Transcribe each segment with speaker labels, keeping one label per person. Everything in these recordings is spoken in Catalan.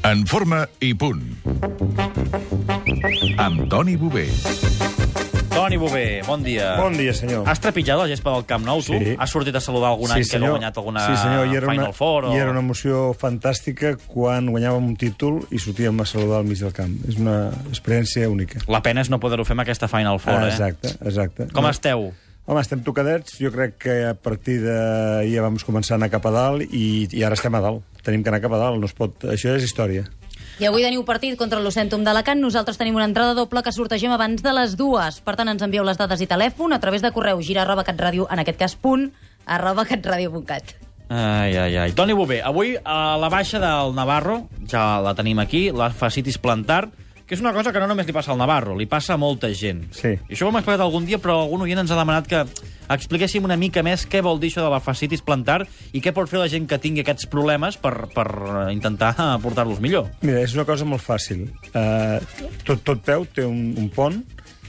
Speaker 1: En forma i punt. Amb Toni Bové.
Speaker 2: Toni Bové, bon dia.
Speaker 3: Bon dia, senyor.
Speaker 2: Ah. Has trepitjat la gespa del Camp Nou, tu?
Speaker 3: Sí.
Speaker 2: Has sortit a saludar algun any que heu guanyat alguna
Speaker 3: sí, senyor. I era
Speaker 2: Final
Speaker 3: una,
Speaker 2: Four? O...
Speaker 3: I era una emoció fantàstica quan guanyàvem un títol i sortíem a saludar al mig del camp. És una experiència única.
Speaker 2: La pena és no poder-ho fer amb aquesta Final Four,
Speaker 3: Ah,
Speaker 2: eh?
Speaker 3: exacte, exacte.
Speaker 2: Com
Speaker 3: No.
Speaker 2: esteu?
Speaker 3: Home, estem tocadets. Jo crec que a partir d'ahir ja vam començar a anar cap a dalt i, i ara estem a dalt. Tenim que anar cap a dalt. No es pot... Això és història.
Speaker 4: I avui teniu partit contra l'Ocèntum d'Alacant. Nosaltres tenim una entrada doble que sortegem abans de les dues. Per tant, ens envieu les dades i telèfon a través de correu gira arroba catradio, en aquest cas punt, arroba catradio.cat.
Speaker 2: Ai, ai, ai. Toni Bové, avui a la baixa del Navarro, ja la tenim aquí, la facitis plantar, que és una cosa que no només li passa al Navarro, li passa a molta gent.
Speaker 3: Sí.
Speaker 2: I això ho hem explicat algun dia, però algun oient ens ha demanat que expliquéssim una mica més què vol dir això de la facitis plantar i què pot fer la gent que tingui aquests problemes per, per eh, intentar eh, portar-los millor.
Speaker 3: Mira, és una cosa molt fàcil. Uh, tot, tot peu té un, un pont,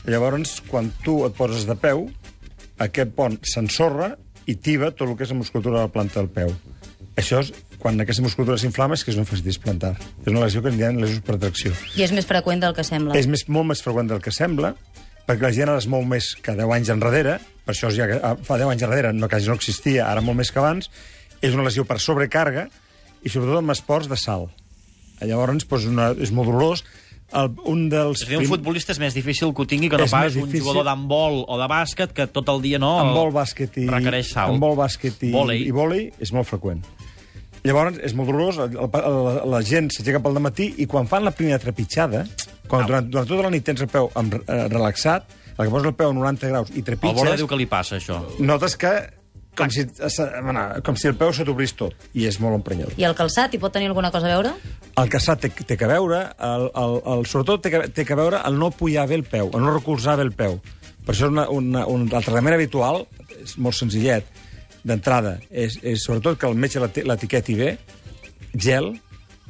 Speaker 3: llavors quan tu et poses de peu, aquest pont s'ensorra i tiba tot el que és la musculatura de la planta del peu. Això és, quan aquesta musculatura s'inflama és que és una fascitis plantar. És una lesió que en diuen lesions per tracció.
Speaker 4: I és més freqüent del que sembla.
Speaker 3: És més, molt més freqüent del que sembla, perquè la gent ara es mou més que 10 anys enrere, per això ja que, ah, fa 10 anys enrere no, quasi no existia, ara molt més que abans, és una lesió per sobrecàrrega i sobretot amb esports de salt. Llavors, doncs, una, és molt dolorós. El, un dels
Speaker 2: És a dir, un futbolista és més difícil que ho tingui que no
Speaker 3: És
Speaker 2: pas
Speaker 3: més
Speaker 2: un
Speaker 3: difícil.
Speaker 2: jugador d'handbol o de bàsquet que tot el dia no...
Speaker 3: amb vol bàsquet i...
Speaker 2: Requereix salt.
Speaker 3: Amb vol bàsquet i,
Speaker 2: Vòlei.
Speaker 3: i vòlei és molt freqüent. Llavors, és molt dolorós, el- el- la, la gent s'aixeca pel matí i quan fan la primera trepitjada, quan durant, durant tota la nit tens el peu amb, eh, relaxat, el que poses el peu a 90 graus
Speaker 2: El
Speaker 3: i
Speaker 2: Borda
Speaker 3: trepitges,
Speaker 2: diu que li passa, això.
Speaker 3: notes que com si, bueno, com si el peu se t'obrís tot, i és molt emprenyador.
Speaker 4: I el calçat hi pot tenir alguna cosa a veure?
Speaker 3: El caçat té, té que veure, el, el, el, sobretot té que, té que veure el no apoyar bé el peu, el no recolzar bé el peu. Per això una, una, un, el tractament habitual és molt senzillet, d'entrada. És, és sobretot que el metge l'eti- l'etiqueti bé, gel,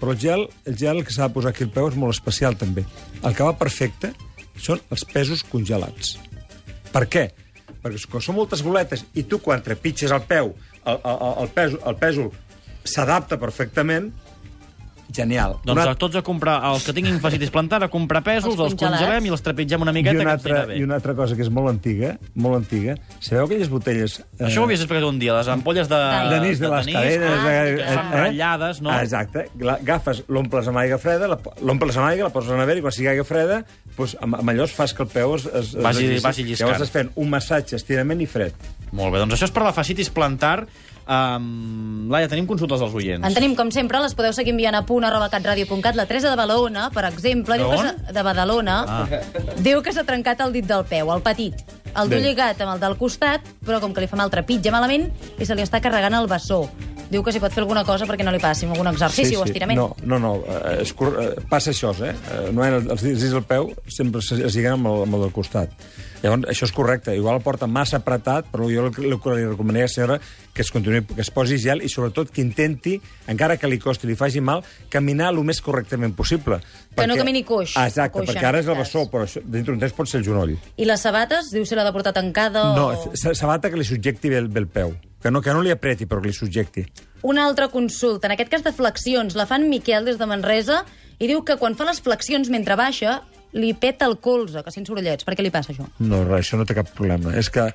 Speaker 3: però el gel, el gel que s'ha de posar aquí al peu és molt especial també. El que va perfecte són els pesos congelats. Per què? Perquè com són moltes boletes i tu quan trepitges el peu, el, el, el, pèsol, el pèsol s'adapta perfectament, genial.
Speaker 2: Doncs a tots a comprar, els que tinguin facitis plantar, a comprar pesos,
Speaker 4: Els
Speaker 2: els, congelem
Speaker 4: congelats.
Speaker 2: i els trepitgem una
Speaker 3: I
Speaker 2: miqueta,
Speaker 3: una,
Speaker 2: que
Speaker 3: altra,
Speaker 2: ens
Speaker 3: I
Speaker 2: anirà bé.
Speaker 3: una altra cosa que és molt antiga, molt antiga, sabeu aquelles botelles... Eh,
Speaker 2: Això ho havies explicat un dia, les ampolles de,
Speaker 3: de nis de, les cadenes...
Speaker 2: que
Speaker 4: Ah,
Speaker 3: eh,
Speaker 4: que
Speaker 2: són ratllades, no?
Speaker 3: Ah, exacte. La- Agafes, l'omples amb aigua freda, la po- l'omples amb aigua, la poses a la nevera, i quan sigui aigua freda, doncs, amb, amb allò es fas que el peu es... es
Speaker 2: Vagi-
Speaker 3: es, es
Speaker 2: vagi lliscant.
Speaker 3: Llavors estàs fent un massatge, estirament i fred.
Speaker 2: Molt bé, doncs això és per la facitis plantar. Um, Laia, tenim consultes als oients.
Speaker 4: En tenim, com sempre, les podeu seguir enviant a punt arroba catradio.cat. La Teresa de Badalona, per exemple,
Speaker 2: De
Speaker 4: diu que
Speaker 2: on?
Speaker 4: s'ha- de Badalona, ah. diu que s'ha trencat el dit del peu, el petit. El
Speaker 3: Bé.
Speaker 4: du lligat amb el del costat, però com que li fa mal trepitja malament i se li està carregant el bessó. Diu que s'hi pot fer alguna cosa perquè no li passi, amb algun exercici o estirament.
Speaker 3: No, no, no eh, es cor... eh, passa això, eh? Eh, No, els els dits del peu sempre se- es lliguen amb el, amb el del costat. Llavors, això és correcte. Igual el porta massa apretat, però jo el, que- el que li recomanaria, senyora, que es, continuï, que es posi gel i, sobretot, que intenti, encara que li costi, li faci mal, caminar el més correctament possible.
Speaker 4: Que no camini coix,
Speaker 3: Ah, Exacte,
Speaker 4: coixa,
Speaker 3: perquè ara és el
Speaker 4: en aquest
Speaker 3: bessó, però això, dintre d'un temps pot ser el genoll.
Speaker 4: I les sabates, diu si l'ha de portar tancada
Speaker 3: No,
Speaker 4: o...
Speaker 3: sa- sabata que li subjecti bé el, bé el peu. Que no, que no li apreti, però que li subjecti.
Speaker 4: Una altra consulta, en aquest cas de flexions, la fan Miquel des de Manresa i diu que quan fa les flexions mentre baixa li peta el colze, que sent sorollets. Per què li passa això?
Speaker 3: No, res, això no té cap problema. És que,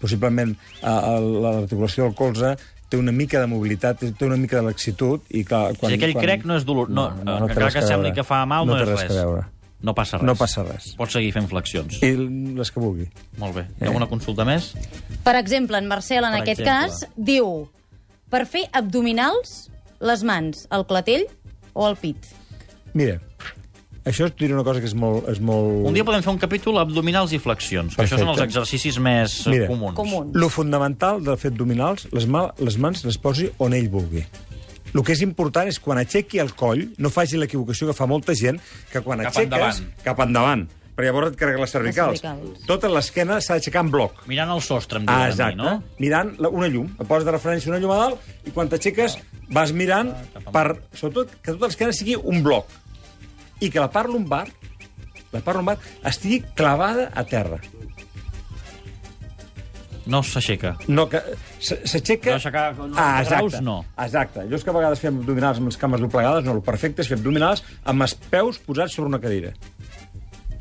Speaker 3: possiblement, a- a l'articulació del colze té una mica de mobilitat, té una mica de laxitud, i clar... Quan,
Speaker 2: si aquell
Speaker 3: quan...
Speaker 2: crec no és dolor... No, no, no,
Speaker 3: té
Speaker 2: encara
Speaker 3: res
Speaker 2: que, sembli
Speaker 3: veure.
Speaker 2: que fa mal, no,
Speaker 3: no té
Speaker 2: és
Speaker 3: res.
Speaker 2: res.
Speaker 3: A veure.
Speaker 2: No passa res.
Speaker 3: No passa res.
Speaker 2: Pots seguir fent flexions.
Speaker 3: I les que vulgui.
Speaker 2: Molt bé.
Speaker 3: eh.
Speaker 2: Hi ha alguna consulta més?
Speaker 4: Per exemple, en Marcel, en
Speaker 2: Per
Speaker 4: aquest
Speaker 2: exemple.
Speaker 4: cas, diu per fer abdominals, les mans, el clatell o el pit.
Speaker 3: Mira, això et diré una cosa que és molt... És molt...
Speaker 2: Un dia podem fer un capítol abdominals i flexions, que això són els
Speaker 3: Perfecte.
Speaker 2: exercicis més eh,
Speaker 3: Mira.
Speaker 2: comuns.
Speaker 4: Comuns.
Speaker 3: Lo fundamental del fet abdominals, les, ma les mans les posi on ell vulgui. El que és important és quan aixequi el coll, no faci l'equivocació que fa molta gent, que quan
Speaker 2: Cap
Speaker 3: aixeques...
Speaker 2: endavant.
Speaker 3: Cap endavant. Però llavors et carrega les cervicals.
Speaker 4: cervicals.
Speaker 3: Tota l'esquena s'ha d'aixecar en bloc.
Speaker 2: Mirant el sostre, em
Speaker 3: Ah,
Speaker 2: diuen a mi,
Speaker 3: exacte.
Speaker 2: no?
Speaker 3: Mirant la, una llum. Et poses de referència una llum a dalt i quan t'aixeques vas mirant
Speaker 2: Ah,
Speaker 3: per, sobretot, que tota l'esquena sigui un bloc. I que la part lumbar, la part lumbar estigui clavada a terra.
Speaker 2: No s'aixeca.
Speaker 3: No, que s- s'aixeca...
Speaker 2: No
Speaker 3: Ah,
Speaker 2: aixecar no, graus, no.
Speaker 3: Exacte. Allò és que a vegades fem abdominals amb les cames doblegades, no, el perfecte és fer abdominals amb els peus posats sobre una cadira.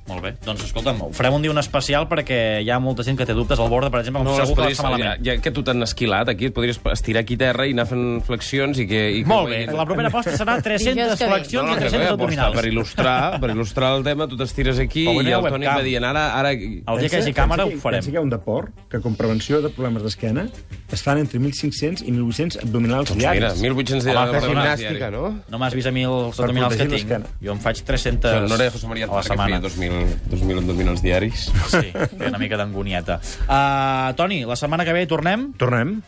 Speaker 2: Molt bé. Doncs escolta'm, ho farem un dia un especial perquè hi ha molta gent que té dubtes al borde, per exemple, no, segur que va estar
Speaker 5: ja,
Speaker 2: malament.
Speaker 5: ja que tu t'han esquilat aquí, et podries estirar aquí a terra i anar fent flexions i que... I
Speaker 2: Molt
Speaker 5: que
Speaker 2: bé, la propera aposta serà 300
Speaker 4: Dijous que ve.
Speaker 2: flexions i
Speaker 5: que
Speaker 2: 300
Speaker 5: bé, aposta,
Speaker 2: abdominals.
Speaker 5: Per il·lustrar, per il·lustrar el tema, tu t'estires aquí
Speaker 2: Però avui
Speaker 5: i
Speaker 2: no hi ha
Speaker 5: el Toni
Speaker 2: webcam.
Speaker 5: va dient ara... ara...
Speaker 2: El dia que hi hagi càmera ho
Speaker 3: Pensa
Speaker 2: farem.
Speaker 3: que hi ha un deport que, com prevenció de problemes d'esquena, es fan entre 1.500 i 1.800 abdominals
Speaker 5: Doncs mira,
Speaker 3: diaris.
Speaker 5: 1.800
Speaker 6: Home, fes
Speaker 5: abdominals
Speaker 6: gimnàstica,
Speaker 5: diaris.
Speaker 6: no?
Speaker 2: No m'has vist a mi els
Speaker 3: Per
Speaker 2: abdominals que
Speaker 3: protegir
Speaker 2: tinc.
Speaker 3: l'esquena.
Speaker 2: Jo en faig
Speaker 5: Això
Speaker 2: 300
Speaker 5: no era José María
Speaker 2: a la
Speaker 5: Aznar, que feia
Speaker 2: setmana.
Speaker 5: 2.000 2.000 abdominals diaris.
Speaker 2: Sí, una mica d'angonieta. Uh, Toni, la setmana que ve hi tornem?
Speaker 3: Tornem.